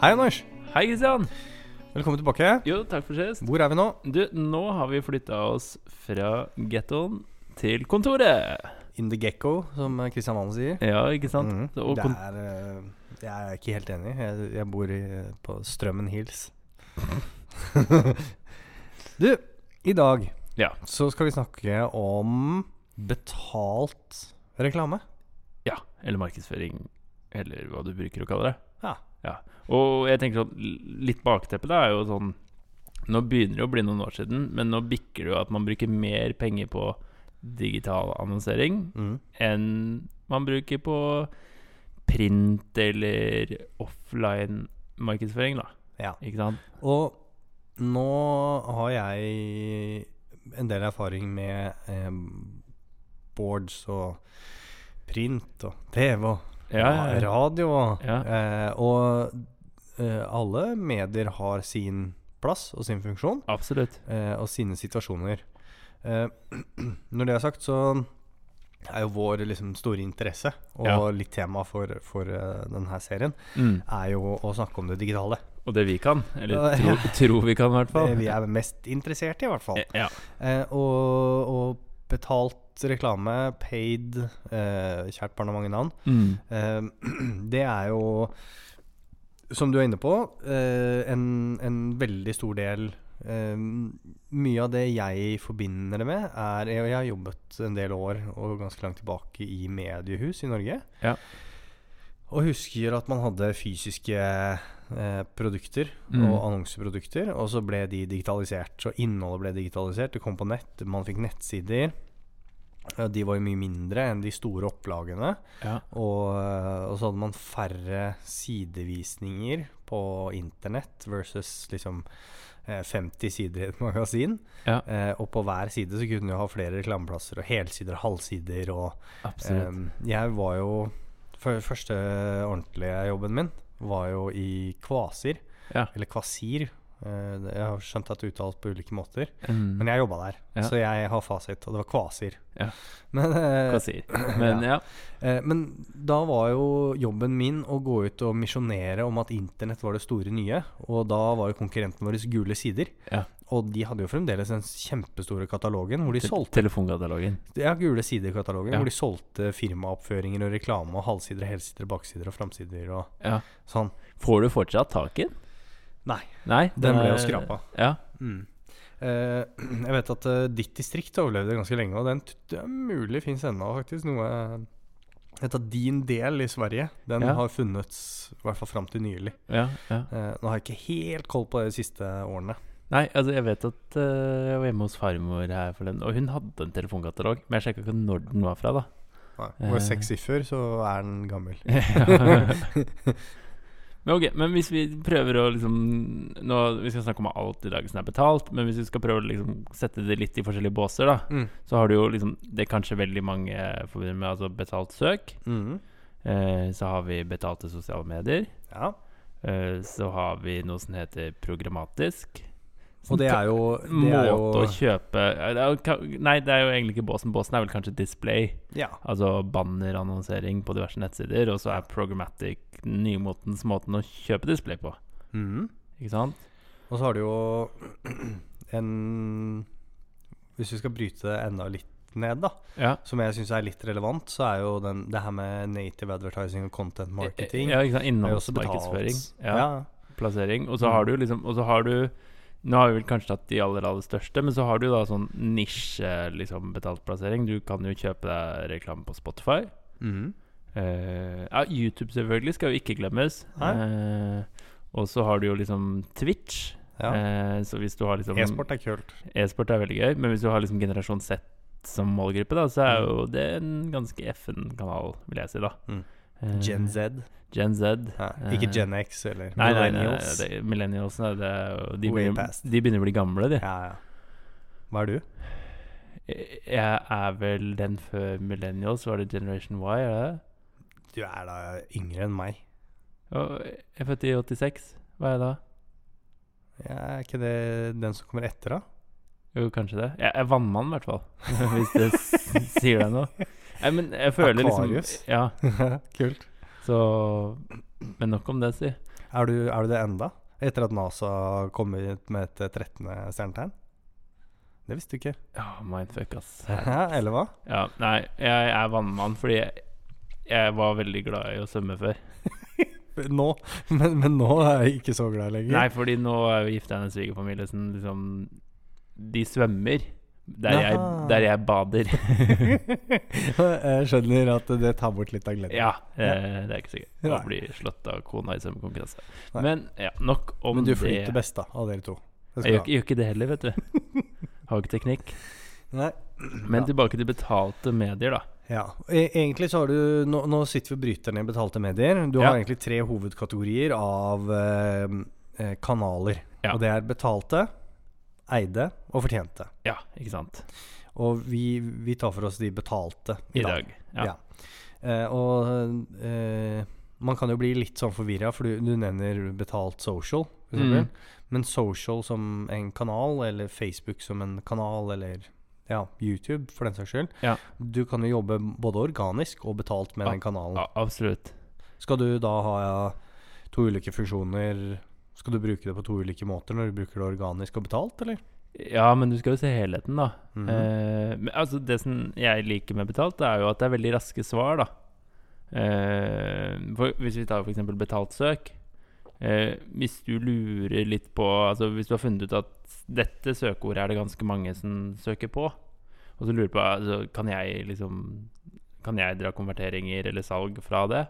Hei, Anders. Hei, Kristian. Velkommen tilbake. Jo, takk for sist. Hvor er vi nå? Du, nå har vi flytta oss fra gettoen til kontoret. In the gecko, som eh, Christian Valen sier. Ja, ikke sant? Mhm. Og Det kon er eh, Jeg er ikke helt enig. Jeg, jeg bor i, eh, på Strømmen Hills. du, i dag Ja. så skal vi snakke om betalt reklame. ja. Eller markedsføring, eller hva du bruker å kalle det. Ja. ja. Og jeg tenker sånn l- Litt bakteppe da er jo sånn Nå begynner det å bli noen år siden, men nå bikker det jo at man bruker mer penger på digital annonsering Mm. enn man bruker på print eller offline markedsføring, da. Ja. Ikke sant? Og nå har jeg en del erfaring med eh, boards og print og TV og Ja, ja, ja. radio. Og, Ja. eh, og eh, alle medier har sin plass og sin funksjon Absolutt. eh, og sine situasjoner. Eh, når det er sagt, så er jo vår liksom, store interesse og Ja. litt tema for, for eh, denne serien er jo å snakke om det digitale. Og det vi kan. Eller Mm. Ja, tro, tro vi kan, i hvert fall. Det vi er mest interessert i, i hvert fall. Ja. Eh, og, og betalt reklame, paid, eh, kjært barn har mange navn, Mm. eh, det er jo, som du er inne på, eh, en, en veldig stor del. Eh, mye av det jeg forbinder det med, er Jeg har jobbet en del år og ganske langt tilbake i mediehus i Norge. Ja. Og husker at man hadde fysiske eh, produkter Mm. og annonseprodukter, og så ble de digitalisert. Så innholdet ble digitalisert, det kom på nett, man fikk nettsider. Og de var jo mye mindre enn de store opplagene. Ja. Og, eh, og så hadde man færre sidevisninger på internett versus liksom eh, 50 sider i et magasin. Ja. Eh, og på hver side så kunne du ha flere reklameplasser og helsider og halvsider. Og, Absolutt. eh, jeg var jo fø- Første ordentlige jobben min var jo i Kvasir. Ja. Eller Kvasir. eh, det- jeg har skjønt at det er uttalt på ulike måter. Mm. Men jeg jobba der, Ja. så jeg har fasit. Og det var Kvasir. Ja. Men, eh, Hva sier Men ja. Eh, Men da var jo jobben min å gå ut og misjonere om at internett var det store nye. Og da var jo konkurrenten vår Gule Sider. ja. Og de hadde jo fremdeles den kjempestore katalogen hvor de Te- solgte Telefonkatalogen. ja, Gule Sider-katalogen. Ja. Hvor de solgte firmaoppføringer og reklame og halvsider og helsider og baksider og framsider og Ja. sånn. Får du fortsatt tak i den? Nei, Nei. den ble jo er- skrapa. Ja. Mm. Eh, jeg vet at eh, ditt distrikt overlevde ganske lenge, og den t- det er mulig fins ennå, faktisk. Noe jeg vet at din del i Sverige, den Ja. har funnets i hvert fall fram til nylig. Ja, ja. Eh, nå har jeg ikke helt koll på det de siste årene. Nei, altså jeg vet at eh, jeg var hjemme hos farmor her forleden, og hun hadde en telefonkatalog, men jeg sjekka ikke når den var fra, da. Nei, Var det Eh. seks siffer, så er den gammel. men ok, men hvis vi prøver å liksom nå, Vi skal snakke om alt i dag som er betalt, men hvis vi skal prøve å liksom sette det litt i forskjellige båser, da, Mm. så har du jo liksom Det er kanskje veldig mange forbinder med altså betalt søk. Mhm. Eh, så har vi betalte sosiale medier. Ja. Eh, så har vi noe som heter programmatisk. Sånn Og det er jo, det Måte er å jo kjøpe eh, det er, jo ka- Nei, det er jo egentlig ikke båsen. Båsen er vel kanskje display. ja. Altså bannerannonsering på diverse nettsider, og så er programmatic den nymotens måten å kjøpe display på. Mhm. Ikke sant? Og så har du jo en Hvis vi skal bryte det enda litt ned, da, Ja. som jeg syns er litt relevant, så er jo den, det her med native advertising og content marketing Eh, Ja, ikke sant? er jo også betalt. Innholdsmarkedsføring. Ja. Ja, Plassering. Og så Mm. har du liksom Og så har du Nå har vi vel kanskje tatt de aller, aller største, men så har du da sånn nisje liksom betalt plassering. Du kan jo kjøpe deg reklame på Spotify. Mhm. Eh, ja, YouTube selvfølgelig skal jo ikke glemmes. Eh, og så har du jo liksom Twitch. ja. Eh, så hvis du har liksom E-sport er kult. E-sport er veldig gøy, men hvis du har liksom generasjon Z som målgruppe, da, så er jo det en ganske FN-kanal, vil jeg si, da. Mm. Eh, Gen Z. Gen Z. Ja. Eh, Ikke Gen X eller Nei, nei, nei, millennials. det, millennialsene, det, er jo- de, Way begynner, past. de begynner å bli gamle, de. Ja, ja. Hva er du? Jeg er vel den før millennials, var det Generation Y, er det det? Du er da yngre enn meg. Og Jeg er født i 86, hva er jeg da? Ja, er ikke det den som kommer etter, da? Jo, kanskje det. Jeg er vannmann, i hvert fall. Hvis det s- sier deg noe. Nei, men jeg føler liksom Aquarius. Ja, Kult. så Men nok om det, si. Er du, er du det enda? Etter at NASA kom ut med et 13. stjernetegn? Det visste du ikke. Ja, mindfuck, ass. Eller hva? Ja, nei, jeg er vannmann fordi jeg, jeg var veldig glad i å svømme før. Nå, men, men nå er jeg ikke så glad lenger. Nei, fordi nå er jo gifta en svigerfamilie som liksom De svømmer der jeg, Jaha. der jeg bader. jeg skjønner at det tar bort litt av gleden. ja, eh, det er ikke så gøy. Å Nei. bli slått av kona i svømmekonkurranse. Nei. Men ja, nok om men du det. flyter best da, av dere to. Det Jeg skal gjør, ikke- gjør ikke det heller, vet du. Har ikke teknikk. du ha. Nei. Men tilbake til betalte medier, da. Ja. E egentlig så har du Nå, nå sitter vi og bryter ned betalte medier. Du Ja. har egentlig tre hovedkategorier av eh, eh, kanaler. Ja. Og det er betalte, eide og fortjente. Ja, ikke sant. Og vi, vi tar for oss de betalte I dag. Ja. Ja. Eh, og eh, man kan jo bli litt sånn forvirra, for du, du nevner betalt social. For eksempel. Mm. Men social som en kanal, eller Facebook som en kanal, eller ja, YouTube for den saks skyld. Ja. Du kan jo jobbe både organisk og betalt med Ja, den kanalen. ja, absolutt. Skal du da ha to ulike funksjoner? Skal du bruke det på to ulike måter når du bruker det organisk og betalt, eller? Ja, men du skal jo se helheten, da. Mhm. Eh, men altså Det som jeg liker med betalt, det er jo at det er veldig raske svar. da Eh, for Hvis vi tar f.eks. betalt søk eh, Hvis du lurer litt på Altså Hvis du har funnet ut at dette søkeordet er det ganske mange som søker på, og så lurer du på altså, Kan jeg liksom Kan jeg dra konverteringer eller salg fra det,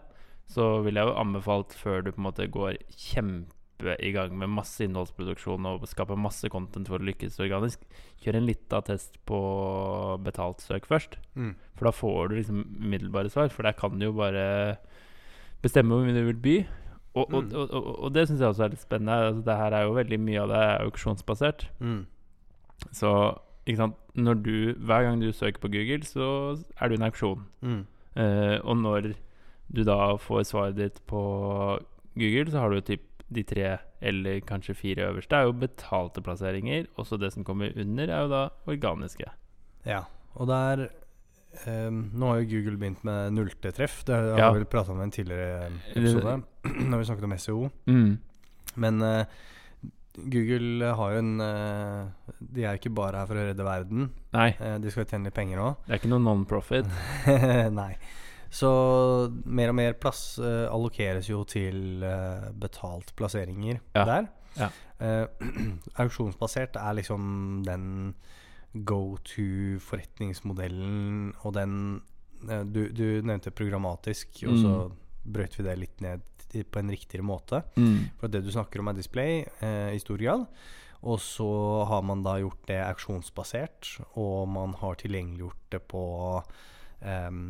så vil jeg jo anbefalt før du på en måte går kjempe i gang med masse innholdsproduksjon og skaper masse content for å lykkes organisk, kjør en liten test på betalt søk først. Mm. For da får du liksom umiddelbare svar, for der kan du jo bare bestemme hvor mye du vil by. Og, og, Mm. og, og, og det syns jeg også er litt spennende. Altså, det her er jo veldig mye av det er auksjonsbasert. Mm. Så ikke sant? Når du, hver gang du søker på Google, så er du en auksjon. Mm. Eh, og når du da får svaret ditt på Google, så har du typ de tre eller kanskje fire øverste er jo betalte plasseringer. Også det som kommer under, er jo da organiske. Ja, og der ehm, Nå har jo Google begynt med nulletreff. Det har Ja. vi vel prata om i en tidligere episode, når vi snakket om E SEO. Mm. Men eh, Google har jo en eh, De er jo ikke bare her for å redde verden. Nei, Eh, de skal jo tjene litt penger òg. det er ikke noe non-profit. Nei. Så mer og mer plass eh, allokeres jo til eh, betalt plasseringer Ja. der. Ja. Eh, auksjonsbasert er liksom den go to forretningsmodellen, og den eh, du, du nevnte programmatisk, og så Mm. brøt vi det litt ned til- på en riktigere måte. Mm. For det du snakker om er display eh, i stor grad. Og så har man da gjort det auksjonsbasert, og man har tilgjengeliggjort det på em,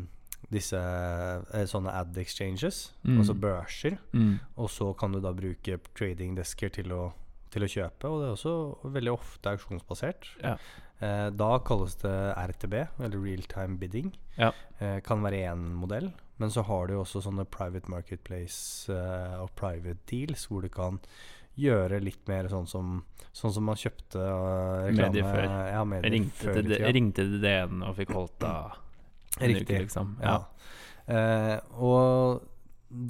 disse eh, sånne ad exchanges, Mm. altså børser. Mm. Og så kan du da bruke trading desker til å, til å kjøpe, og det er også veldig ofte auksjonsbasert. Ja. Eh, da kalles det RTB, eller real time bidding. Ja. Eh, kan være én modell, men så har du jo også sånne private marketplace eh, og private deals, hvor du kan gjøre litt mer sånn som, sånn som man kjøpte eh, reklame Medier før. Ja, medier Ringte før i til, tida. ringte til DN og fikk holdt av en Riktig. uke, liksom. Ja. Ja. Eh, og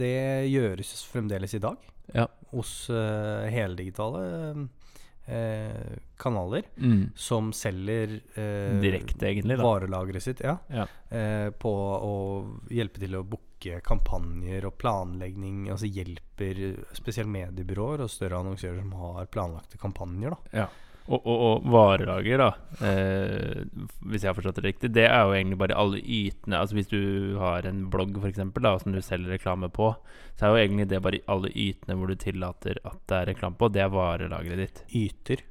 det gjøres fremdeles i dag Ja. hos eh, heldigitale eh, kanaler Mm. som selger eh, Direkte, egentlig, da. varelageret sitt ja, Ja. eh, på å hjelpe til å booke kampanjer og planlegging. Altså hjelper spesielt mediebyråer og større annonsører som har planlagte kampanjer. Da. Og, og, og varelager, da, eh, hvis jeg har forstått det riktig, det er jo egentlig bare alle ytene. Altså Hvis du har en blogg for eksempel, da, som du selger reklame på, så er jo egentlig det bare alle ytene hvor du tillater at det er reklame på, det er varelageret ditt. Yter.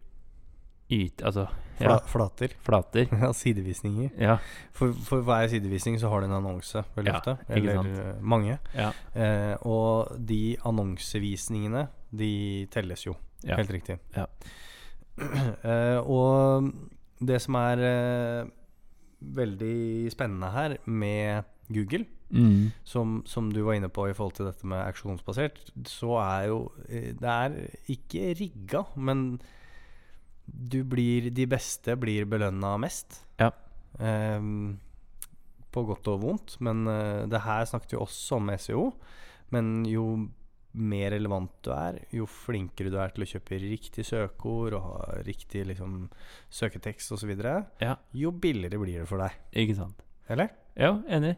Yt, altså Fla, ja, Flater. flater. Ja, sidevisninger. Ja, For, for hver sidevisning så har du en annonse veldig Ja, ofte. ikke Eller sant. eh, mange. Ja. Eh, og de annonsevisningene, de telles jo. Ja. Helt riktig. Ja. Eh, og det som er eh, veldig spennende her med Google, mm, som, som du var inne på i forhold til dette med auksjonsbasert, så er jo eh, Det er ikke rigga, men du blir De beste blir belønna mest. Ja. Ehm, på godt og vondt, E men eh, det her snakket vi også om med SEO. Men jo mer relevant du er, jo flinkere du er til å kjøpe riktig søkeord og ha riktig liksom, søketekst osv., Ja. jo billigere blir det for deg. Ikke sant? Eller? Ja, enig.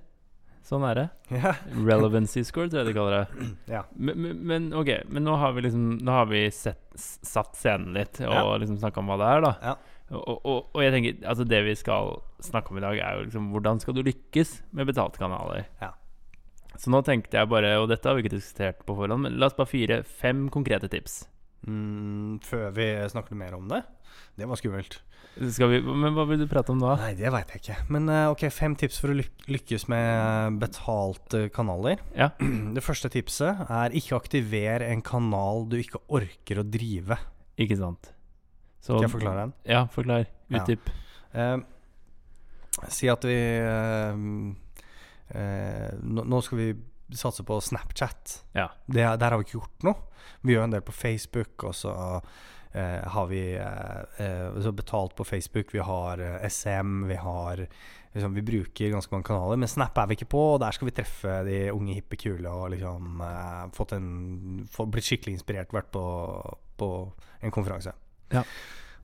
Sånn er det. Ja. Relevancy score, tror jeg de kaller det. Ja. Men, men, men ok, men nå har vi liksom Nå har vi sett, s- satt scenen litt og Ja. liksom snakka om hva det er, da. Ja. Og, og, og jeg tenker altså det vi skal snakke om i dag, er jo liksom hvordan skal du lykkes med betalte kanaler. Ja. Så nå tenkte jeg bare, og dette har vi ikke diskutert på forhånd, men la oss bare fyre fem konkrete tips. Mm, før vi snakker mer om det. Det var skummelt. Skal vi, men hva vil du prate om da? Nei, det veit jeg ikke. Men eh, ok, fem tips for å lyk lykkes med eh, betalte kanaler. Ja. Det første tipset er ikke aktiver en kanal du ikke orker å drive. Ikke sant. Så, Skal jeg forklare den? Ja, forklar. Ja. Utdyp. Eh, si at vi eh, eh, nå, nå skal vi satse på Snapchat. Ja. Det, er- der har vi ikke gjort noe. Vi gjør en del på Facebook, og så eh, har vi eh, eh, så betalt på Facebook. Vi har eh, SM, vi har liksom, Vi bruker ganske mange kanaler, men Snap er vi ikke på, og der skal vi treffe de unge, hippe, kule og liksom eh, fått en, få, blitt skikkelig inspirert, vært på, på en konferanse. Ja.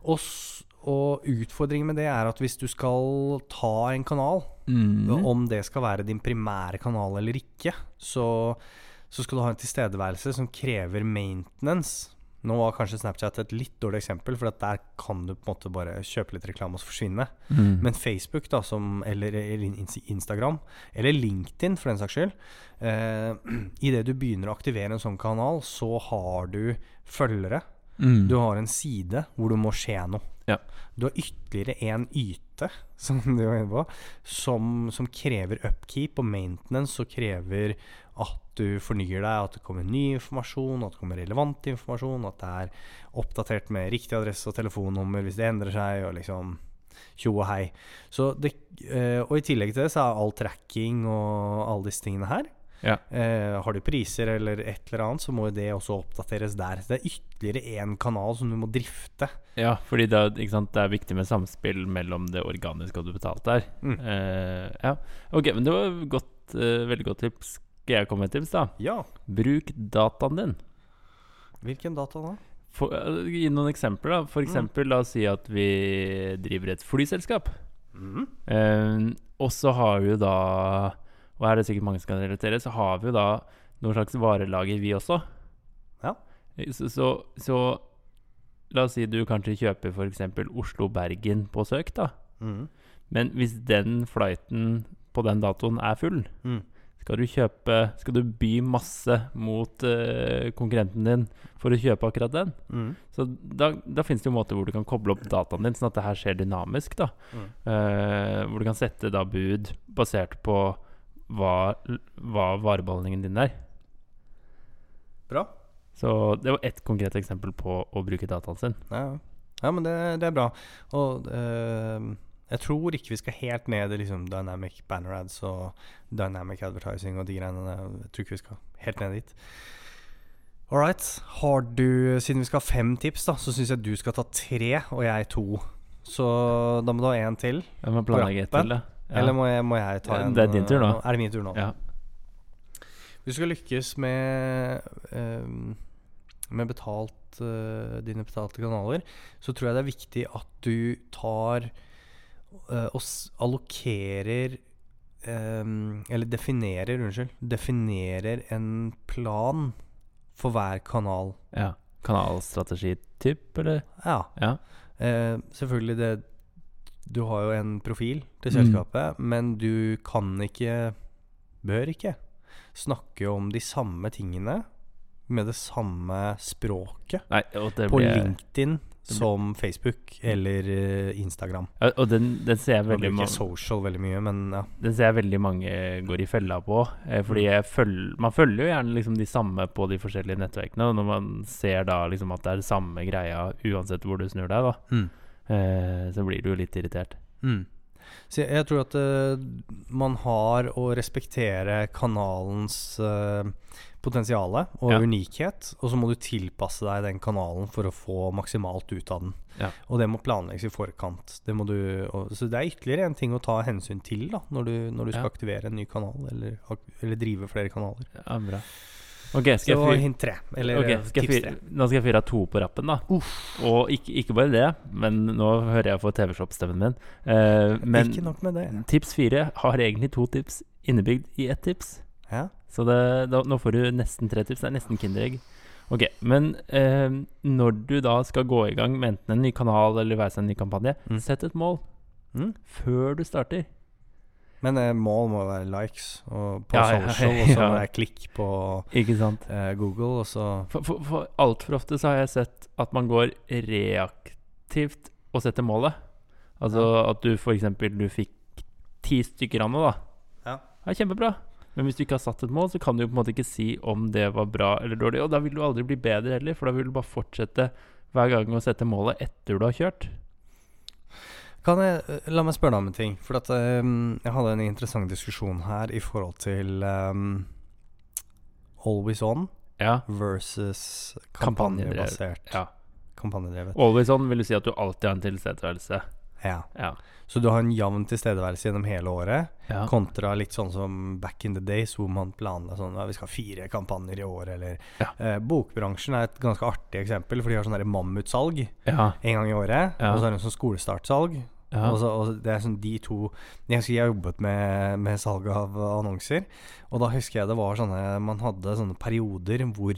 Og, s- og utfordringen med det er at hvis du skal ta en kanal, Mm. om det skal være din primære kanal eller ikke, så, så skal du ha en tilstedeværelse som krever maintenance. Nå var kanskje Snapchat et litt dårlig eksempel, for at der kan du på en måte bare kjøpe litt reklame og så forsvinne. Mm. Men Facebook, da, som, eller, eller Ins- Instagram, eller LinkedIn for den saks skyld eh, Idet du begynner å aktivere en sånn kanal, så har du følgere. Mm. Du har en side hvor det må skje noe. Ja. Du har ytterligere en yte, som du var inne på, som, som krever upkeep og maintenance, og krever at du fornyer deg, at det kommer ny informasjon, at det kommer relevant informasjon, at det er oppdatert med riktig adresse og telefonnummer hvis det endrer seg, og liksom tjo og hei. Så det, eh, og i tillegg til det så er all tracking og alle disse tingene her Ja. Eh, har de priser eller et eller annet, så må jo det også oppdateres der. Så det er ytterligere én kanal som du må drifte. Ja, fordi det, er- ikke sant, det er viktig med samspill mellom det organiske og det betalte her. Mm. Eh, ja. Ok, men det var godt, eh, veldig godt tips. Skal jeg komme med et tips, da? Ja. Bruk dataen din. Hvilken data da? For, eh, gi noen eksempler, da. For Mm. eksempel, la oss si at vi driver et flyselskap. Mm. Eh, og så har vi jo da Og her er det sikkert mange som kan relatere, så har vi jo da noe slags varelager, vi også. Eh, Ja. Så, så, så la oss si du kanskje kjøper f.eks. Oslo-Bergen på søk, da. Mm. Men hvis den flighten på den datoen er full, Mm. skal du kjøpe Skal du by masse mot eh, konkurrenten din for å kjøpe akkurat den? Mm. Så da, da finnes det jo måter hvor du kan koble opp dataen din, sånn at det her skjer dynamisk. da Mm. Eh, Hvor du kan sette da bud basert på hva, hva varebeholdningen din er. Bra. Så det var ett konkret eksempel på å bruke dataen sin. Ja, ja. ja men det, det er bra. Og eh, jeg tror ikke vi skal helt ned i liksom dynamic banner ads og dynamic advertising og de greiene der. Jeg tror ikke vi skal helt ned dit. All right. Har du, siden vi skal ha fem tips, da, så syns jeg du skal ta tre, og jeg to. Så da må du ha én til. Jeg må planlegge et rappen? til, da. Eller må jeg, må jeg ta Ja, en eh, det er din tur nå. Er det min tur nå? Ja. Du skal lykkes med ehm, Med betalt eh, dine betalte kanaler. Så tror jeg det er viktig at du tar eh, og s- allokerer ehm, Eller definerer, unnskyld. Definerer en plan for hver kanal. ja. Kanalstrategityp, eller? Ja. Ja. Eh, selvfølgelig det Du har jo en profil til Mm. selskapet, men du kan ikke Bør ikke snakke om de samme tingene med det samme språket Nei, og det på ble- LinkedIn som Facebook eller eh, Instagram. Ja, Og den, den ser jeg Man veldig bruker mange social veldig mye, men ja. Den ser jeg veldig mange går i fella på. Eh, fordi Mm. jeg føl- man følger jo gjerne liksom de samme på de forskjellige nettverkene. Og når man ser da liksom at det er samme greia uansett hvor du snur deg, da, Mm. eh, så blir du jo litt irritert. Mm. Så jeg, jeg tror at eh, man har å respektere kanalens uh, potensial og Ja. unikhet, og så må du tilpasse deg den kanalen for å få maksimalt ut av den. Ja. Og det må planlegges i forkant. Det må du, og, så det er ytterligere en ting å ta hensyn til da, når du, når du skal Ja. aktivere en ny kanal, eller, ak- eller drive flere kanaler. Ja, bra. Ok, skal jeg Så fyre hint tre. Eller eh, Ok, skal jeg tips fyre, tre. nå skal jeg fyre av to på rappen, da. Og ikke, ikke bare det, men nå hører jeg for TV-shop-stemmen min. Eh, men Ikke nok med det. tips fire har egentlig to tips innebygd i ett tips. Ja. Så det, da, nå får du nesten tre tips. Det er nesten Kinderegg. Ok, Men eh, når du da skal gå i gang med enten en ny kanal eller være seg en ny kampanje, Mm. sett et mål Mm. før du starter. Men eh, mål må være likes og på Ja, ja, social, og så ja. må det være klikk på Ikke sant? eh, Google, og så For, for, for altfor ofte så har jeg sett at man går reaktivt og setter målet. Altså at du for eksempel du fikk ti stykker av noe, da. Ja. Det er kjempebra. Men hvis du ikke har satt et mål, så kan du jo på en måte ikke si om det var bra eller dårlig. Og da vil du aldri bli bedre heller, for da vil du bare fortsette hver gang å sette målet etter du har kjørt. Kan jeg, eh, La meg spørre deg om en ting. For at eh, jeg hadde en interessant diskusjon her i forhold til eh, Always On Ja. versus Kampanjedrevet. kampanjebasert. Ja. Kampanjedrevet. Always on vil du si at du alltid har en tilstedeværelse. Ja. Ja. Så du har en jevn tilstedeværelse gjennom hele året, ja. kontra litt sånn som back in the days, hvor man planla sånn ja, Vi skal ha fire kampanjer i år, eller Ja. eh, Bokbransjen er et ganske artig eksempel, for de har sånn der mammutsalg. ja. en gang i året. Ja. Og så er det en sånn skolestartsalg. ja. Og så, og det er sånn de to Jeg husker jeg jobbet med, med salg av annonser. Og da husker jeg det var sånne Man hadde sånne perioder hvor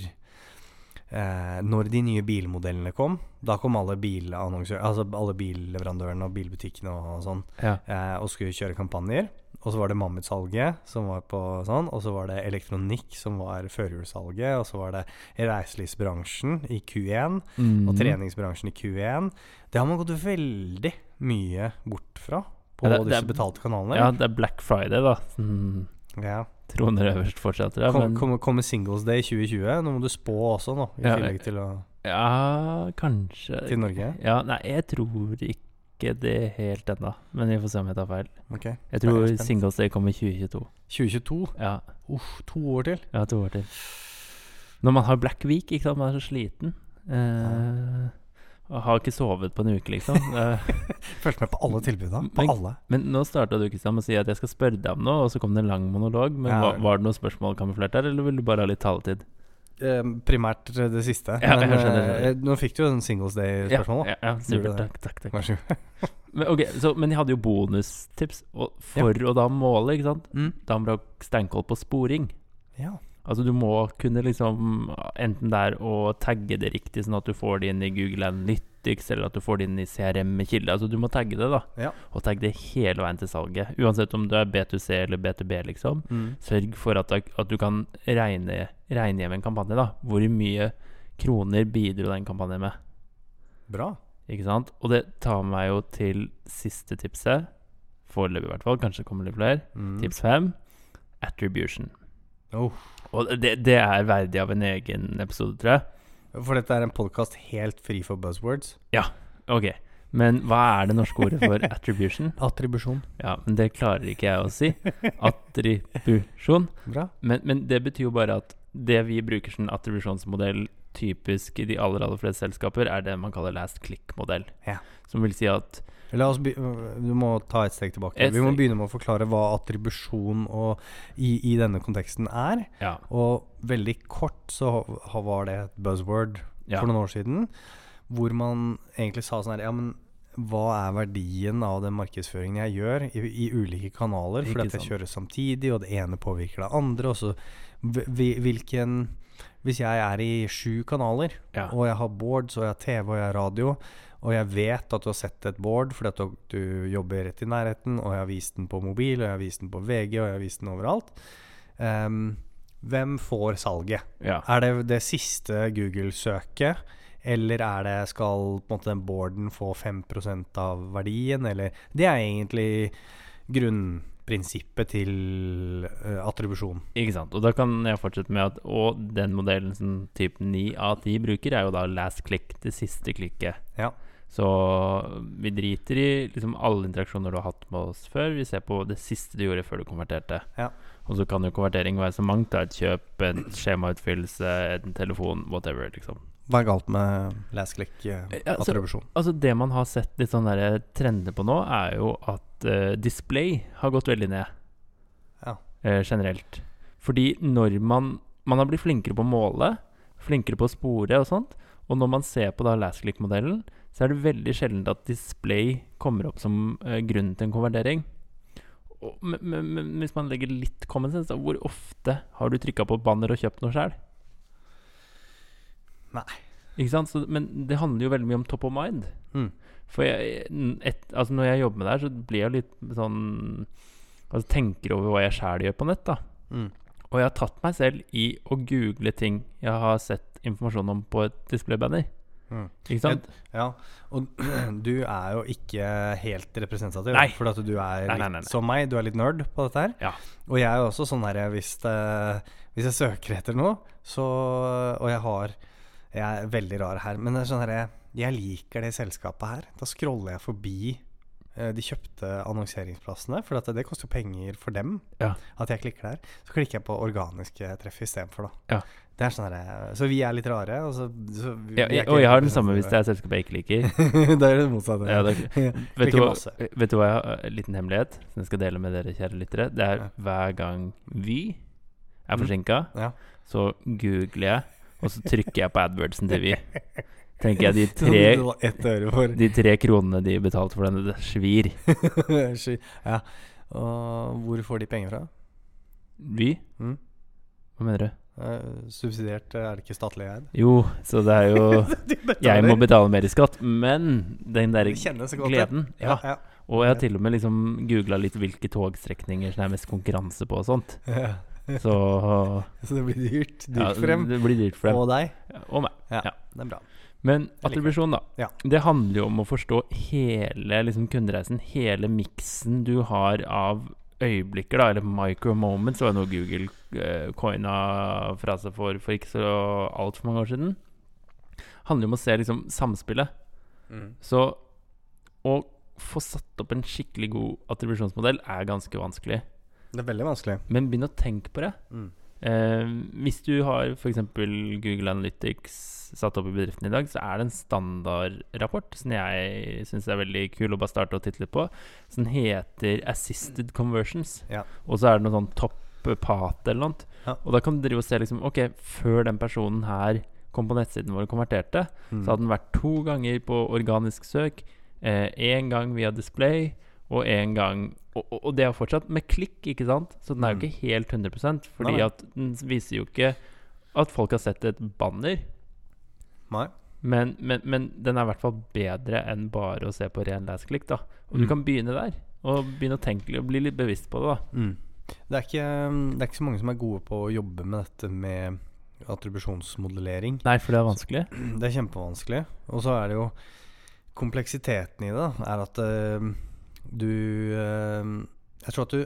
eh, Når de nye bilmodellene kom, da kom alle bilannonsør- Altså alle billeverandørene og bilbutikkene og sånn ja. eh, og skulle kjøre kampanjer. Og så var det mammutsalget, som var på sånn, og så var det elektronikk, som var førjulssalget, og så var det reiselivsbransjen i Q1 og Mm. treningsbransjen i Q1. Det har man gått veldig mye bort fra på Ja, det- det disse er- betalte kanalene. Ja, det er Black Friday, da. Mm. Ja. Troner øverst fortsetter, ja. Kom- Men Kommer kommer Singles Day 2020. Nå må du spå også, nå, i Ja, tillegg til, å, ja, kanskje til Norge. Ja, nei, jeg tror ikke det helt ennå. Men vi får se om jeg tar feil. Ok. Jeg tror Spennende, spennende. Singles Day kommer i 2022. 2022? Ja, Uff, to år til. jeg har to år til. Når man har Black Week, ikke sant, man er så sliten. Eh, og har ikke sovet på en uke, liksom. Eh, Følg med på alle tilbudene. På Men- alle. men nå starta du Kristian, med å si at jeg skal spørre deg om noe, og så kom det en lang monolog. Men Ja. var, var det noen spørsmål kamuflert der, eller ville du bare ha litt taletid? Eh, primært det siste. Ja, jeg men skjønner, eh, nå fikk du jo en Singles Day-spørsmål, da. Ja, ja, ja, det. supert. Takk, takk, takk. Vær så god. Men, ok, så, men jeg hadde jo bonustips og for å da måle, ikke sant? Mm. Da brakk Steinkoll på sporing. Ja. Altså du må kunne liksom enten der å tagge det riktig, sånn at du får det inn i Google Analytics, eller at du får det inn i CRM med kilde. Altså du må tagge det, da. Ja. Og tagge det hele veien til salget. Uansett om du er B2C eller B2B, liksom. Mm. Sørg for at, at du kan regne, regne hjem en kampanje, da. Hvor mye kroner bidro den kampanjen med. Bra. Ikke sant? Og det tar meg jo til siste tipset. Foreløpig, i hvert fall. Kanskje det kommer litt flere. Mm. Tips fem attribution. Oh. Og det, det er verdig av en egen episode, tror jeg. For dette er en podkast helt fri for buzzwords. Ok, Men hva er det norske ordet for attribution? Attribusjon. Ja, men Det klarer ikke jeg å si. Attribusjon. Bra. Men, men det betyr jo bare at det vi bruker som attribusjonsmodell typisk i de aller aller fleste selskaper, er det man kaller last click-modell. Ja. Som vil si at La oss be du må ta et steg tilbake. Et Vi må steg. begynne med å forklare hva attribusjon og i, i denne konteksten er. Ja. Og veldig kort så ha- var det et buzzword ja. for noen år siden, hvor man egentlig sa sånn her Ja, men hva er verdien av den markedsføringen jeg gjør i, i ulike kanaler? Ikke Fordi at jeg sant. kjører samtidig, og det ene påvirker det andre. Og så hv- hvi- hvilken Hvis jeg er i sju kanaler, Ja. og jeg har boards, og jeg har TV, og jeg har radio, og jeg vet at du har sett et board fordi at du, du jobber rett i nærheten, og jeg har vist den på mobil, og jeg har vist den på VG, og jeg har vist den overalt Ehm, Hvem får salget? ja. Er det det siste Google-søket? Eller er det skal på en måte den boarden få 5 av verdien? Eller Det er egentlig grunnprinsippet til eh, attribusjon. Ikke sant. Og da kan jeg fortsette med at Og den modellen som type 9 av 10 bruker, er jo da last click, det siste klikket. Ja. Så vi driter i liksom alle interaksjoner du har hatt med oss før. Vi ser på det siste du gjorde før du konverterte. Ja. Og så kan jo konvertering være så mangt. Da. Et kjøp, en skjemautfyllelse, en telefon, whatever. liksom Hva er galt med last eh, click-attribusjon? Altså Det man har sett litt sånn der trender på nå, er jo at eh, display har gått veldig ned. Ja. Eh, generelt. Fordi når man man har blitt flinkere på å måle, flinkere på å spore og sånt. Og når man ser på da last-click-modellen, så er det veldig sjelden at display kommer opp som eh, grunnen til en konvertering. Og, men, men, men hvis man legger litt common sense, da, hvor ofte har du trykka på banner og kjøpt noe sjøl? Nei. Ikke sant? Så, men det handler jo veldig mye om top of mind. Mm. For jeg, et, altså når jeg jobber med det her, så blir jeg litt sånn Altså tenker over hva jeg sjæl gjør på nett, da. Mm. Og jeg har tatt meg selv i å google ting jeg har sett informasjon om på et displaybanner. Mm. Ikke sant? Ja, og du er jo ikke helt representativ. Nei. For at du er Nei, nei, nei, nei. litt som meg, du er litt nerd på dette her. Ja. Og jeg er jo også sånn her hvis, det- hvis jeg søker etter noe, så Og jeg har Jeg er veldig rar her, men det er sånn her, jeg liker det selskapet her. Da scroller jeg forbi eh, de kjøpte annonseringsplassene, for at det koster jo penger for dem Ja. at jeg klikker der. Så klikker jeg på organiske treff istedenfor, da. Ja. Det er sånn her, så vi er litt rare. Og, så, så vi vi Ja, er jeg, ikke og jeg har den representative. samme hvis det er et selskap jeg ikke liker. det er det motsatte. Ja, det er- Ja. Vet Ikke du, hva- masse. vet du hva jeg har? En liten hemmelighet som jeg skal dele med dere, kjære lyttere. Det er Ja. hver gang Vy er Mm. forsinka, Ja. så googler jeg, og så trykker jeg på AdWordsen til Vy. Tenker jeg de Sånn at du tre, var Ett øre for de tre kronene de betalte for denne, det svir. Sky. Ja. Og hvor får de penger fra? Vy? Mm. Hva mener du? Eh, subsidiert, er det ikke statlig eid? Jo, så det er jo Jeg må betale mer i skatt, men den der Det kjennes så godt, det. gleden Ja, ja. ja. Og jeg har til og med liksom googla litt hvilke togstrekninger som er mest konkurranse på og sånt. Ja. Så Så det blir dyrt. Dyrt ja, for dem. det blir dyrt for dem. Og deg. Og meg. Det er bra. Men liker attribusjon, da. Ja. Det handler jo om å forstå hele liksom, kundereisen. Hele miksen du har av øyeblikker, da, eller micro moments, var jo noe Google eh, coina fra seg for, for ikke så altfor mange år siden. handler jo om å se liksom, samspillet. Mm. Så å få satt opp en skikkelig god attribusjonsmodell er ganske vanskelig. Det er veldig vanskelig. Men begynn å tenke på det. Mm. Eh, hvis du har f.eks. Google Analytics satt opp i bedriften i dag, så er det en standardrapport som jeg syns er veldig kul å bare starte å titte litt på, som heter Assisted Conversions. Ja. Og så er det noe sånn topp-pat eller noe. Ja. Og da kan du drive og se liksom Ok, før den personen her kom på nettsiden vår og konverterte, Mm. så hadde den vært to ganger på organisk søk, én gang via display og én gang og, og, og det er fortsatt med klikk, ikke sant? Så den er jo Mm. ikke helt 100 fordi Nei, nei. at den viser jo ikke at folk har sett et banner. Nei. Men, men, men den er i hvert fall bedre enn bare å se på ren last-klikk. da Og du Mm. kan begynne der, og begynne å tenke litt og bli litt bevisst på det. da Mm. Det, er ikke, mm, det er ikke så mange som er gode på å jobbe med dette med attribusjonsmodellering. Nei, for det er vanskelig. Det er kjempevanskelig. Og så er det jo kompleksiteten i det, da, er at eh, du eh, Jeg tror at du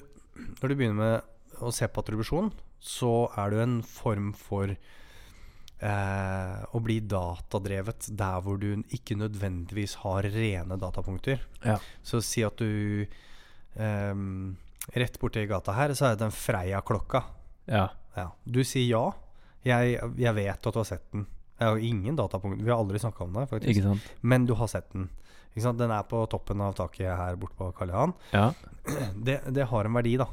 Når du begynner med å se på attribusjon, så er du en form for eh, å bli datadrevet der hvor du ikke nødvendigvis har rene datapunkter. Ja. Så si at du eh, Rett borti gata her så er det den Freia-klokka. Ja. Ja. Du sier ja. Jeg, jeg vet at du har sett den. Jeg har jo ingen datapunkt. Vi har aldri snakka om det, faktisk. Ikke sant? Men du har sett den. Ikke sant? Den er på toppen av taket her borte på Karl Johan. Ja. Det, det har en verdi, da.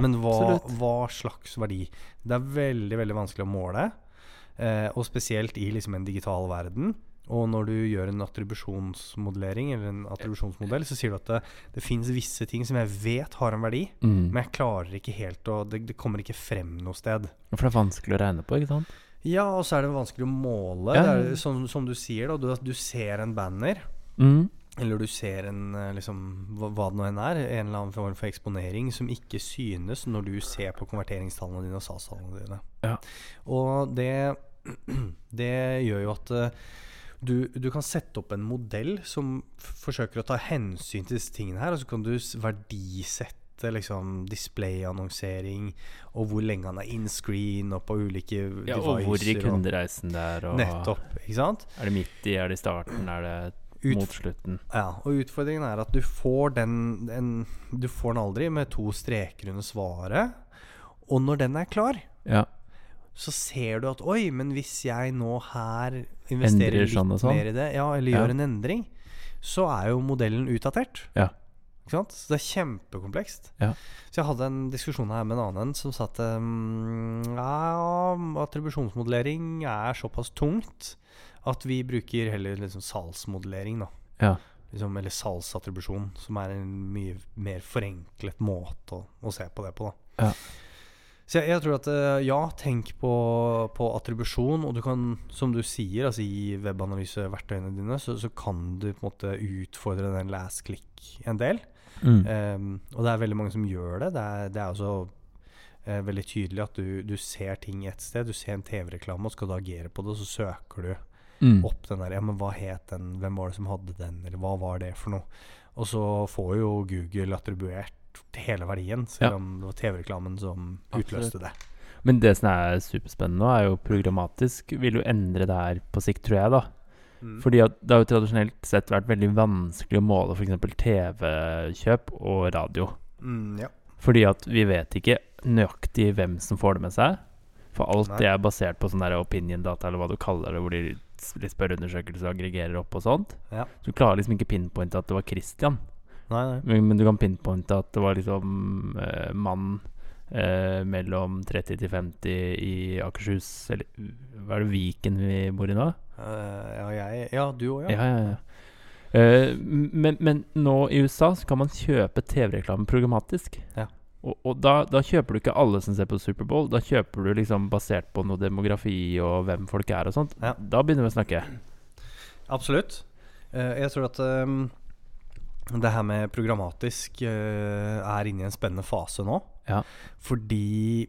Men hva, Absolutt. hva slags verdi? Det er veldig veldig vanskelig å måle. Eh, og spesielt i liksom en digital verden. Og når du gjør en attribusjonsmodellering, eller en attribusjonsmodell, så sier du at det, det fins visse ting som jeg vet har en verdi, Mm. men jeg klarer ikke helt å Det, det kommer ikke frem noe sted. For det er vanskelig å regne på, ikke sant? Ja, og så er det vanskelig å måle. Ja. Det er, som, som du sier, da, du, at du ser en banner, Mm. eller du ser en eh, liksom, hva, hva det nå enn er, en eller annen form for eksponering som ikke synes når du ser på konverteringstallene dine og salgstallene dine. Ja. Og det, det gjør jo at eh, du, du kan sette opp en modell som f- forsøker å ta hensyn til disse tingene her, og så kan du s- verdisette liksom displayannonsering, og hvor lenge han er in screen, og på ulike Ja, og hvor i og- kundereisen det er, og Nettopp. ikke sant? er det midt i, er det i starten, er det Ut, mot slutten? ja, og utfordringen er at du får den, den Du får den aldri med to streker under svaret. Og når den er klar, Ja. så ser du at Oi, men hvis jeg nå her investerer Endrer litt sånn og sånn. mer i det, ja, eller Ja. gjør en endring, så er jo modellen utdatert. Ja. Ikke sant? Så det er kjempekomplekst. Ja. Så jeg hadde en diskusjon her med en annen som sa at um, ja, attribusjonsmodellering er såpass tungt at vi bruker heller liksom salgsmodellering, da. Ja. Liksom, eller salgsattribusjon, som er en mye mer forenklet måte å, å se på det på, da. Ja. Så jeg, jeg tror at eh, ja, tenk på, på attribusjon, og du kan, som du sier, altså i webanalyseverktøyene dine, så, så kan du på en måte utfordre den last click en del. Mm. Ehm, og det er veldig mange som gjør det. Det er, det er også eh, veldig tydelig at du, du ser ting et sted. Du ser en TV-reklame, og skal du agere på det, og så søker du Mm. opp den der Ja, men hva het den? Hvem var det som hadde den? Eller hva var det for noe? Og så får jo Google attribuert hele verdien, selv Ja. om det var TV-reklamen som Absolutt. utløste det. Men det som er superspennende nå, er jo programmatisk vil jo endre det her på sikt, tror jeg, da. Mm. Fordi at det har jo tradisjonelt sett vært veldig vanskelig å måle f.eks. TV-kjøp og radio. Mm, ja. Fordi at vi vet ikke nøyaktig hvem som får det med seg. For alt Nei. det er basert på sånn der opinion-data, eller hva du kaller det, hvor de s- litt spørreundersøkelser og aggregerer opp og sånt. Ja. Så du klarer liksom ikke pinpointe at det var Christian, Nei, nei. men, men du kan pinpointe at det var liksom eh, mann eh, mellom 30 til 50 i Akershus, eller uh, hva er det, Viken vi bor i nå? Eh, ja, jeg Ja, du òg, ja. Ja, ja, ja. Eh, men, men nå i USA så kan man kjøpe TV-reklame programmatisk. Ja. Og, og da, da kjøper du ikke alle som ser på Superbowl. Da kjøper du liksom basert på noe demografi og hvem folk er og sånt. Ja. Da begynner vi å snakke. Absolutt. Eh, jeg tror at eh, det her med programmatisk eh, er inne i en spennende fase nå. Ja. Fordi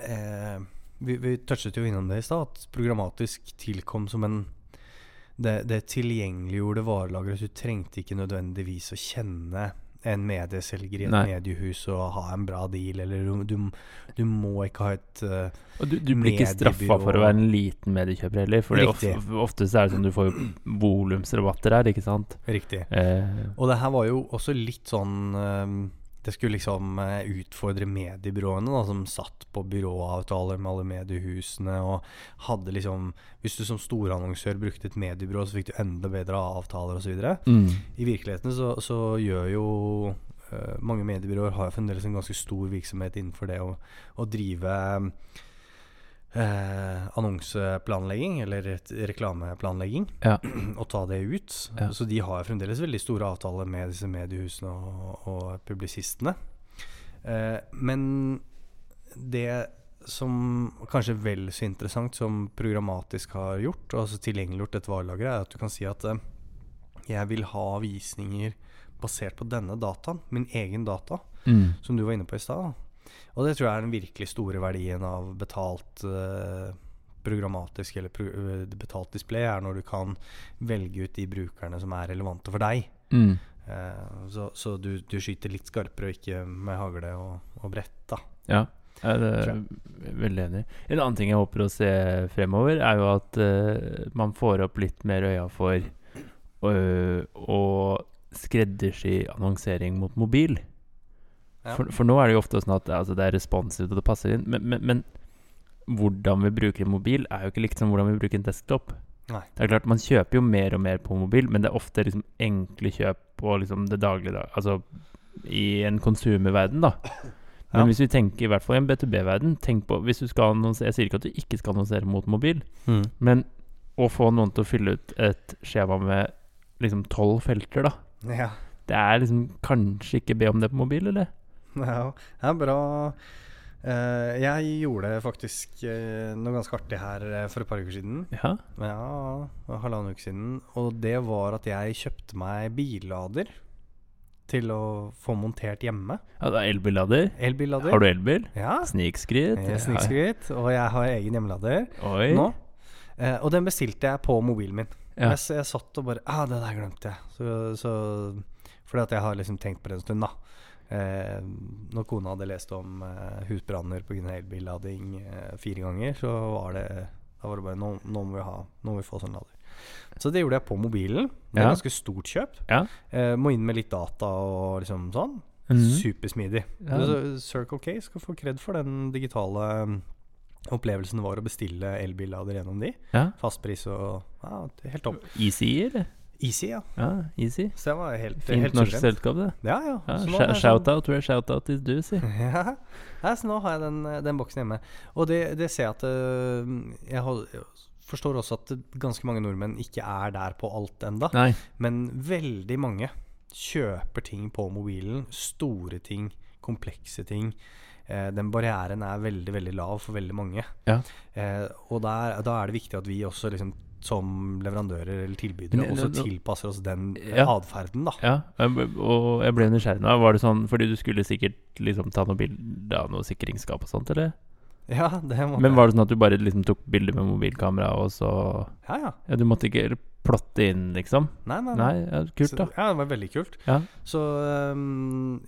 eh, vi, vi touchet jo innom det i stad, at programmatisk tilkom som en Det, det tilgjengeliggjorde varelageret. så Du trengte ikke nødvendigvis å kjenne en medieselger i et Nei. mediehus og ha en bra deal, eller du, du, du må ikke ha et eh, Og du, du blir ikke straffa Mediebyrå. for å være en liten mediekjøper heller. For ofte, Riktig. ofte så er det sånn du får jo volumsrabatter her, ikke sant? Riktig. Eh, Og det her var jo også litt sånn ehm, Det skulle liksom eh, utfordre mediebyråene, da, som satt på byråavtaler med alle mediehusene og hadde liksom Hvis du som storannonsør brukte et mediebyrå, så fikk du enda bedre avtaler osv. mm. I virkeligheten så, så gjør jo eh, mange mediebyråer har jo fremdeles en ganske stor virksomhet innenfor det å, å drive eh, annonseplanlegging, eller et reklameplanlegging, Ja. og ta det ut. Ja. Så de har fremdeles veldig store avtaler med disse mediehusene og, og publisistene. Eh, men det som kanskje er vel så interessant som programmatisk har gjort, altså tilgjengeliggjort dette varelageret, er at du kan si at eh, jeg vil ha visninger basert på denne dataen, min egen data, Mm. som du var inne på i stad. da. Og det tror jeg er den virkelig store verdien av betalt eh, programmatisk eller pro eh, betalt display, er når du kan velge ut de brukerne som er relevante for deg. Mm. Eh, så så du, du skyter litt skarpere, og ikke med hagle og, og brett, da. Ja, jeg er Tror eh, veldig enig. En annen ting jeg håper å se fremover, er jo at eh, man får opp litt mer øya for eh, å skreddersy annonsering mot mobil. Ja. For, for nå er det jo ofte sånn at altså, det er responsivt og det passer inn, men, men, men hvordan vi bruker en mobil, er jo ikke likt som hvordan vi bruker en desktop. Nei. Det er klart, Man kjøper jo mer og mer på mobil, men det er ofte liksom enkle kjøp og liksom det daglige dag, Altså i en konsumerverden, da. Men Ja. hvis vi tenker i hvert fall i en B2B-verden Tenk på, hvis du skal annonsere Jeg sier ikke at du ikke skal annonsere mot mobil, men å få noen til å fylle ut et skjema med liksom tolv felter, da. Ja. Det er liksom kanskje ikke be om det på mobil, eller? Ja, det er bra. Eh, jeg gjorde faktisk eh, noe ganske artig her eh, for et par uker siden. Ja. Ja, halvannen uke siden. Og det var at jeg kjøpte meg billader til å få montert hjemme. ja det er elbillader. Elbillader. Har du elbil? Ja. Snikskritt. eh, Snikskryt. Og jeg har egen hjemmelader Ja. Oi. nå. Eh, og den bestilte jeg på mobilen min. Ja. Jeg, s- jeg satt og bare Ah, det der glemte jeg. Så, så, fordi at jeg har liksom tenkt på det en stund, da. Eh, når kona hadde lest om eh, husbranner pga. elbillading eh, fire ganger, så var det Da var det bare Nå, nå, må, vi ha, nå må vi få sånn lader. Så det gjorde jeg på mobilen. Det er Ja. ganske stort kjøp. Ja. Eh, må inn med litt data og liksom sånn. Mhm. Supersmidig. Ja. Så Circle K skal få kred for den digitale mm, opplevelsen det var å bestille elbillader gjennom de. Ja. Fastpris og ja, det er Helt topp. Easy, eller? Easy, ja. Ja, easy. Så det var helt, Fint helt norsk suverent. selskap, det. Ja, ja. Ja, Så nå er sha- det sånn- Shout-out where shout-out is due, si. Ja. Nei, så nå har jeg den, den boksen hjemme. Og det, det ser jeg at eh, Jeg hol- forstår også at ganske mange nordmenn ikke er der på alt enda Nei. Men veldig mange kjøper ting på mobilen. Store ting, komplekse ting. Eh, den barrieren er veldig veldig lav for veldig mange. Ja. Eh, og der, da er det viktig at vi også liksom, som leverandører eller tilbydere Men- også men- tilpasser oss den Ja. atferden. da Ja, jeg ble- og jeg ble nysgjerrig nå. Var det sånn fordi du skulle sikkert liksom ta noe bilde av noe sikringsskap og sånt, eller? Ja, det må Men var det sånn at du bare liksom tok bilder med mobilkamera, og så Ja, ja. Ja, du måtte ikke plotte inn, liksom? Nei, nei, nei. Nei, ja, kult, Så- da. Ja, det var veldig kult. Ja. Så øhm,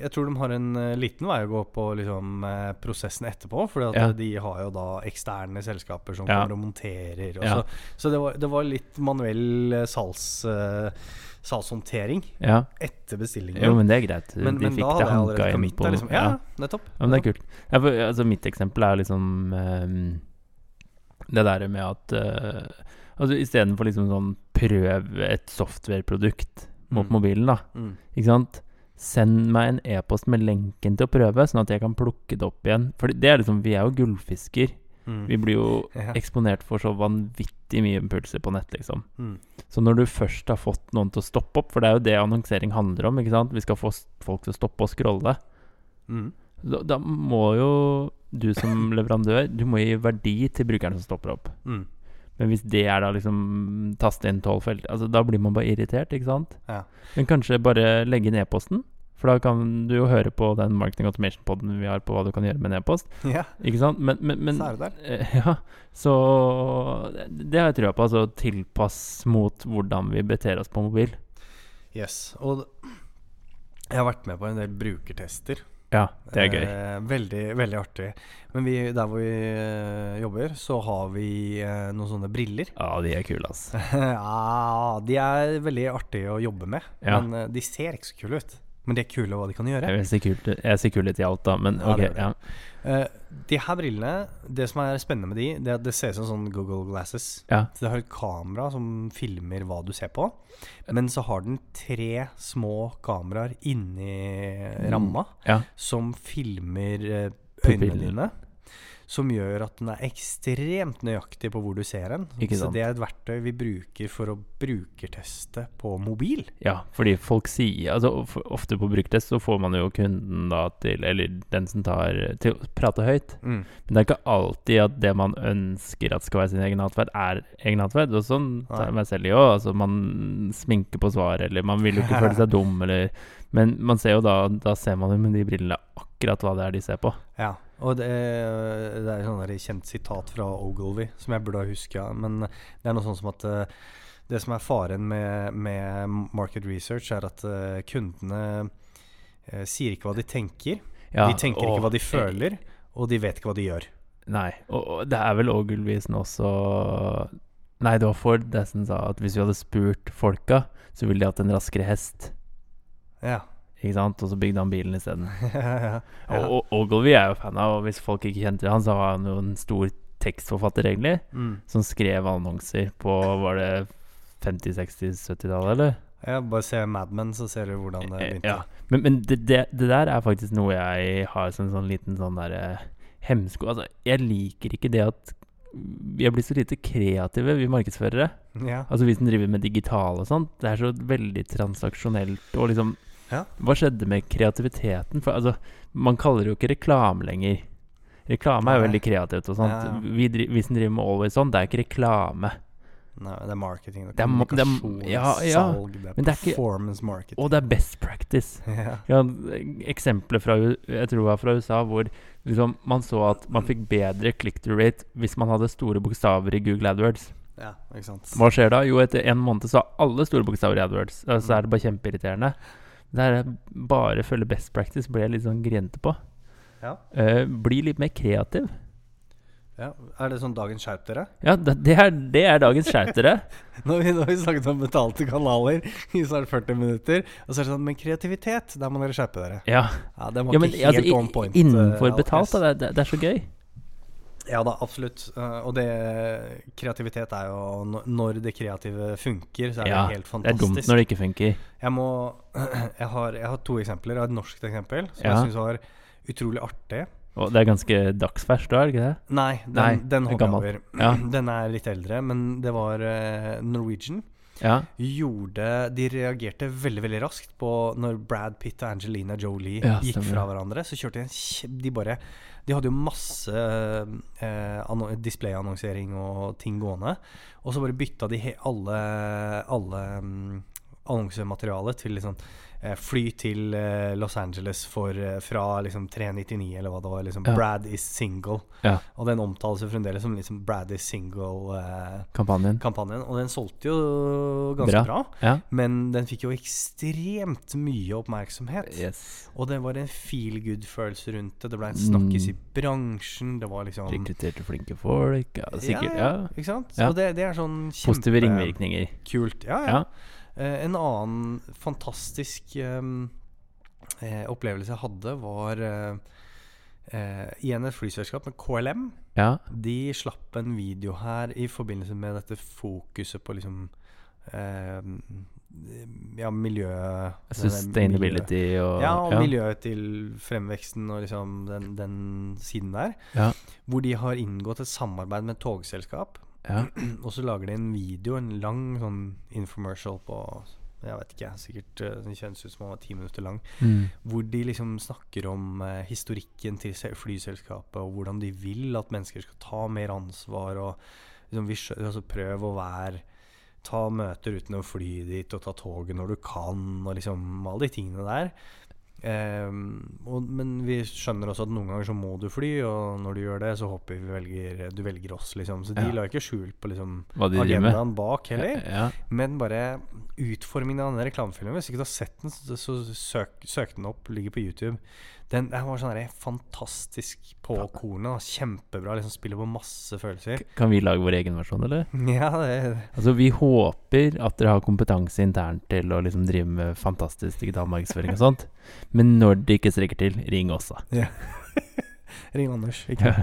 jeg tror de har en eh, liten vei å gå på liksom, eh, prosessen etterpå. For Ja. de har jo da eksterne selskaper som Ja. kommer og monterer. Og Ja. Så, så det, var, det var litt manuell eh, sals, eh, salshåndtering Ja. etter bestillingen. Jo, men det er greit. men, De men fikk da det hadde jeg hanka allerede inn committa. på Liksom. Ja, ja. nettopp. Ja, men det nettopp. er kult. Ja, for, altså, mitt eksempel er liksom eh, det der med at eh, Altså istedenfor liksom sånn prøv et softwareprodukt mot Mm. mobilen, da. Mm. Ikke sant? Send meg en e-post med lenken til å prøve, sånn at jeg kan plukke det opp igjen. For det er liksom, vi er jo gullfisker. Mm. Vi blir jo Ja. eksponert for så vanvittig mye impulser på nett, liksom. Mm. Så når du først har fått noen til å stoppe opp, for det er jo det annonsering handler om, ikke sant? Vi skal få s- folk til å stoppe å scrolle. Mm. Da, da må jo du som leverandør Du må gi verdi til brukeren som stopper opp. Mm. Men hvis det er da liksom taste inn tolv felt altså, Da blir man bare irritert, ikke sant? Ja. Men kanskje bare legge inn e-posten? For da kan du jo høre på den marketing automation-poden vi har på hva du kan gjøre med en e-post. ja, Ikke sant? Men, men, men så er det der. Eh, Ja, så det har jeg trua på. Altså tilpass mot hvordan vi beter oss på mobil. Yes. Og jeg har vært med på en del brukertester. Ja, det er gøy. Eh, veldig, veldig artig. Men vi, der hvor vi eh, jobber, så har vi eh, noen sånne briller. Ja, de er kule, ass. ja, de er veldig artige å jobbe med, Ja. men eh, de ser ikke så kule ut. Men de er kule hva de kan gjøre. Jeg vil si kult- jeg sier kulhet i alt, da, men Ja, ok. det gjør det. Ja, Eh, de her brillene, det som er spennende med de, det er at det ser ut som sånn Google Glasses. Ja. Så det har et kamera som filmer hva du ser på, men så har den tre små kameraer inni ramma Mm, ja. som filmer eh, øynene Pupillen. dine. Som gjør at den er ekstremt nøyaktig på hvor du ser den. Ikke Så sant. det er et verktøy vi bruker for å brukerteste på mobil. ja, fordi folk sier altså, of- Ofte på bruktest så får man jo kunden da til Eller den som tar Til å prate høyt. Men det er ikke alltid at det man ønsker at skal være sin egen atferd, er egen atferd. Og sånn tar jeg meg selv i òg. Altså, man sminker på svaret, eller man vil jo ikke føle seg dum, eller Men man ser jo da Da ser man jo med de brillene akkurat hva det er de ser på. Ja, og det, det er sånn der kjent sitat fra Ogilvy som jeg burde ha huska, men det er noe sånn som at eh, det som er faren med, med market research, er at eh, kundene eh, sier ikke hva de tenker. Ja, de tenker og- ikke hva de føler, og de vet ikke hva de gjør. Nei. Og, og det er vel Ogilvisen også Nei, det var Ford det som sa at hvis vi hadde spurt folka, så ville de hatt en raskere hest. Ja. Ikke sant? Og så bygde han bilen isteden. ja. Og og Ogilvy er jo fan av, og hvis folk ikke kjente han, så var han jo en stor tekstforfatter, egentlig. Mm. som skrev annonser på Var det 50-, 60-, 70-tallet, eller? Ja, bare se Mad Men, så ser du hvordan det Eh, begynte. Ja. Men, men det, det, det der er faktisk noe jeg har som en sånn liten sånn der eh, hemsko Altså, jeg liker ikke det at vi er blitt så lite kreative, vi markedsførere. Ja. Altså vi som driver med digital og sånt. Det er så veldig transaksjonelt og liksom Ja. Hva skjedde med kreativiteten? For altså, man kaller det jo ikke reklame lenger. Reklame er jo Nei. veldig kreativt og sånt. Ja, ja. Vi, dri- vi som driver med Always On, det er ikke reklame. Nei, det er marketing, det Det er er ma- det er- kommunikasjon, det er ja, ja. salg, det er Men det er ikke- performance marketing. Og det er best practice. ja. Ja, eksempler fra, U- jeg tror det var fra USA hvor liksom, man så at man fikk bedre click-through rate hvis man hadde store bokstaver i Google AdWords. ja, ikke sant. Hva skjer da? Jo, etter en måned så har alle store bokstaver i AdWords. Og så er det bare Mm. kjempeirriterende. Det er bare følge best practice blir jeg litt sånn grinete på. Ja. Eh, bli litt mer kreativ. Ja. Er det sånn dagens skjerp dere? Ja, det, det, er, det er dagens skjerp dere. Nå har vi, nå har vi snakket om betalte kanaler i snart 40 minutter. Og så er det sånn, men kreativitet, der må dere skjerpe dere. Ja. Ja, den var ja, men ikke helt altså, i- on point. eh, innenfor Alex. betalt, da. Det, det, det er så gøy. Ja da, absolutt. Eh, og det Kreativitet er jo no- Når det kreative funker, så er Ja, det helt Det er fantastisk. dumt når det ikke funker. Jeg må jeg har, jeg har to eksempler. Jeg har et norsk eksempel som Ja. jeg syns var utrolig artig. Og det er ganske dagsferskt da, er det ikke det? Nei, den, Nei, den det er hopper jeg gammel. over. Ja. Den er litt eldre, men det var eh, Norwegian. Ja. Gjorde, de reagerte veldig veldig raskt på når Brad Pitt og Angelina Jolie Ja, gikk stemmer. fra hverandre. Så kjørte de en kjem- De bare De hadde jo masse eh, anno- displayannonsering og ting gående. Og så bare bytta de he alle, alle mm, annonsematerialet til liksom eh, Fly til eh, Los Angeles for, eh, fra liksom 399 eller hva det var. Liksom, Ja. Brad is single. Ja. Og den omtales jo fremdeles som liksom Brad is single-kampanjen. Kampanjen. og den solgte jo ganske bra. Ja. men den fikk jo ekstremt mye oppmerksomhet. Yes. Og det var en feel good-følelse rundt det. Det ble en snakkis i Mm. bransjen. Det var liksom Rekrutterte flinke folk. Ja, sikkert. Ja, Ja, Ikke sant? Ja. Og det, det er sånn Positive ringvirkninger. Kult. Ja, ja. Ja. Eh, en annen fantastisk ehm, eh, opplevelse jeg hadde, var eh, eh, igjen et flyselskap med KLM. Ja. De slapp en video her i forbindelse med dette fokuset på liksom ehm, ja, miljø... det der miljø- Sustainability og Ja, og miljøet til fremveksten og liksom den, den siden der. Ja. Hvor de har inngått et samarbeid med et togselskap. Ja. Og så lager de en video, en lang sånn infomercial på Jeg vet ikke, sikkert eh, Den kjennes ut som den var ti minutter lang. Mm. Hvor de liksom snakker om eh, historikken til se- flyselskapet, og hvordan de vil at mennesker skal ta mer ansvar, og liksom vi skjø- altså prøv å være Ta møter uten å fly dit, og ta toget når du kan, og liksom alle de tingene der. Ehm, og, men vi skjønner også at noen ganger så må du fly, og når du gjør det, så håper vi velger, du velger oss, liksom. Så de Ja. la ikke skjul på liksom Hva de driver med. agendaen bak heller. Ja. Men bare utformingen av den reklamefilmen Hvis ikke du har sett den, så, så søk, søk den opp. Ligger på YouTube. Den, den var sånn der fantastisk på kornet. da. Kjempebra. Liksom spiller på masse følelser. Kan vi lage vår egen versjon, eller? Ja, det, Altså, Vi håper at dere har kompetanse internt til å liksom drive med fantastisk digital markedsføring og sånt. Men når det ikke strekker til, ring oss, da. Ring Anders, ikke,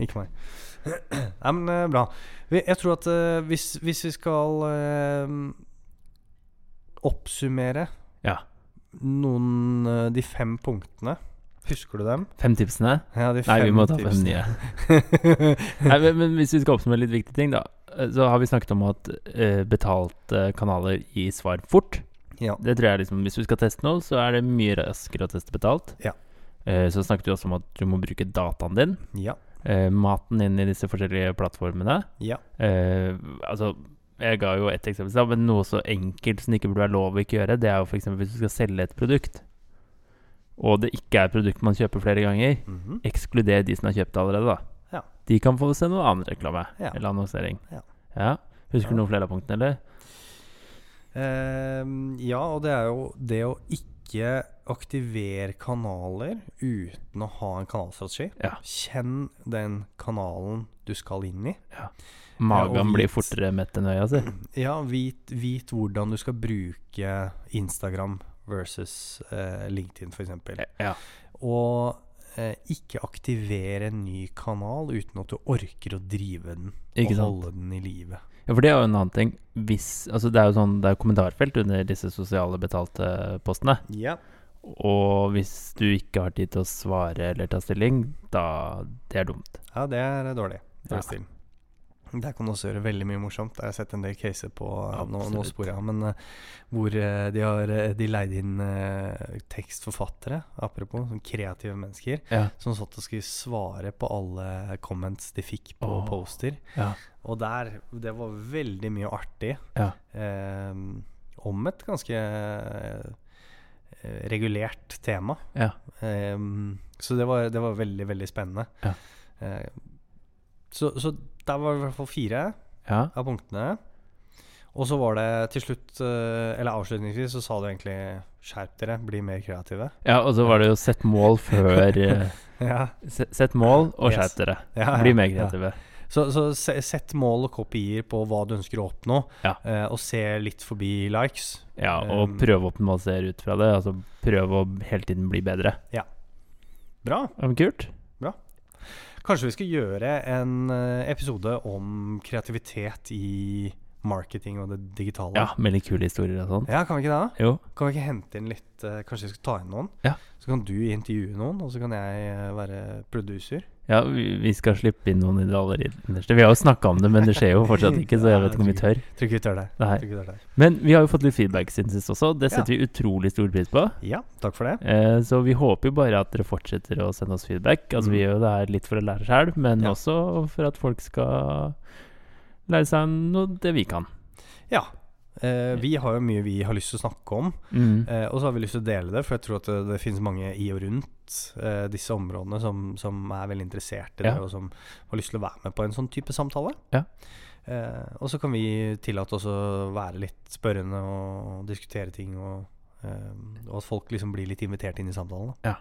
ikke meg. Nei, men eh, bra. Vi, jeg tror at eh, hvis, hvis vi skal eh, oppsummere Ja. noen eh, De fem punktene Husker du dem? Fem tipsene? Ja, de Nei, vi må ta tipsene. fem nye. Nei, men, men hvis vi skal oppsummere litt viktige ting, da. eh, Så har vi snakket om at eh, betalte kanaler gir svar fort. ja. Det tror jeg liksom, Hvis du skal teste noe, så er det mye raskere å teste betalt. Ja. Eh, Så snakket vi også om at du må bruke dataen din, ja. eh, maten din i disse forskjellige plattformene. Ja. Eh, altså, jeg ga jo ett eksempel, i stad, men noe så enkelt som det ikke burde være lov å ikke gjøre, det er jo f.eks. hvis du skal selge et produkt, og det ikke er et produkt man kjøper flere ganger, Mhm. ekskluder de som har kjøpt det allerede, da. Ja. De kan få se noe annen reklame Ja. eller annonsering. Ja. Ja. Husker du Ja. noen flere av punktene, eller? Ehm, ja, og det er jo det å ikke aktivere kanaler uten å ha en kanalstrategi. Ja. Kjenn den kanalen du skal inn i. Magen og blir vit. fortere mett enn øya si. Ja, vit, vit hvordan du skal bruke Instagram versus eh, LinkedIn, f.eks. eksempel Ja. Og eh, ikke aktivere en ny kanal uten at du orker å drive den Ikke og sant? holde den i live. Ja, for det er jo en annen ting. Hvis, altså det er jo sånn, det er jo kommentarfelt under disse sosiale betalte postene. Ja. Og hvis du ikke har tid til å svare eller ta stilling, da Det er dumt. Ja, det er dårlig. Ja. dårlig stil. Der kan du også gjøre veldig mye morsomt. Der har jeg sett en del caser på eh, Nå, nå Absolutt. sporer jeg, av, men eh, hvor eh, de har eh, de leid inn eh, tekstforfattere, apropos, sånn kreative mennesker, Ja. som satt og skulle svare på alle comments de fikk på Åh. poster. Ja. Og der Det var veldig mye artig Ja. eh, om et ganske eh, regulert tema. Ja. Ehm, så det var, det var veldig, veldig spennende. Ja. Eh, så, så der var det i hvert fall fire ja. av punktene. Og så var det til slutt, eh, eller avslutningsvis, så sa du egentlig 'skjerp dere, bli mer kreative'. og så var det jo sett mål før eh, Ja, se- Sett mål og Yes. skjerp dere. ja, Bli ja, mer ja. kreative. Så, så se- sett mål og kopier på hva du ønsker å oppnå, Ja. eh, og se litt forbi likes. Ja, og Um, prøve å optimalisere ut fra det. Altså prøve å hele tiden bli bedre. Bra. Ja, men Kult. Kanskje vi skal gjøre en eh, episode om kreativitet i marketing og det digitale. Ja, med litt kule historier og sånn. Ja, kan vi ikke det? Jo. Kan vi ikke hente inn litt eh, Kanskje vi skal ta inn noen? Ja. Så kan du intervjue noen, og så kan jeg eh, være producer. Ja, vi, vi skal slippe inn noen i det aller innerste. Vi har jo snakka om det, men det skjer jo fortsatt ikke, så jeg vet ikke om vi tør. Tror ikke vi tør det. Nei. Tror ikke vi tør det. Men vi har jo fått litt feedback siden sist også. Ja. Det setter vi utrolig stor pris på. Ja, takk for det. Eh, så vi håper jo bare at dere fortsetter å sende oss feedback. Altså Mm. Vi gjør jo det her litt for å lære sjøl, men Ja. også for at folk skal lære seg noe det vi kan. Ja. eh, vi har jo mye vi har lyst til å snakke om. Mm. Eh, og så har vi lyst til å dele det, for jeg tror at det, det finnes mange i og rundt eh, disse områdene som, som er veldig interessert i det, Ja. og som har lyst til å være med på en sånn type samtale. Ja. Eh, og så kan vi tillate oss å være litt spørrende og diskutere ting, og, eh, og at folk liksom blir litt invitert inn i samtalen. da. Ja.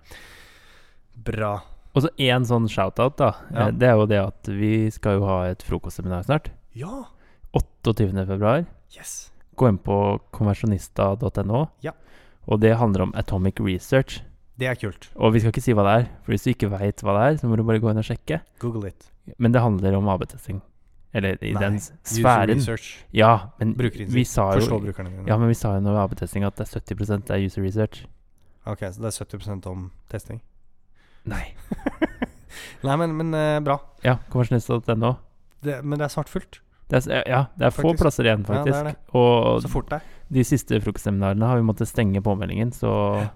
Bra. Og så én sånn shout-out, da. Ja. Eh, Det er jo det at vi skal jo ha et frokostseminar snart. Ja! 28. februar. Yes. Gå inn på konversjonista.no. Ja. Og det handler om Atomic Research. Det er kult. Og vi skal ikke si hva det er, for hvis du ikke veit hva det er, så må du bare gå inn og sjekke. Google it. Men det handler om AB-testing. Eller i Nei, den User sfæren. research. Ja, men Brukerinsikt. vi sa jo Forstå brukerne dine. Ja, men vi sa jo nå ved AB-testing at det er 70 det er user research. Ok, så det er 70 om testing. Nei. Nei, men, men eh, bra. Ja, konversjonista.no. Det, men det er snart fullt. Det er, s- ja, det er få Faktisk. plasser igjen, Ja, faktisk. det er det. Og Så fort deg. de siste frokostseminarene har vi måttet stenge påmeldingen, så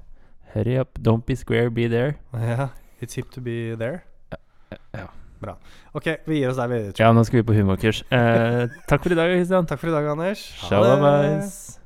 hurry up. Don't be square, be there. Ja, it's hip to be there. ja. Bra. Ok, vi gir oss der videre. tror jeg. Ja, nå skal vi på humorkurs. Eh, takk for i dag, Kristian. Takk for i dag, Anders. Shalabais.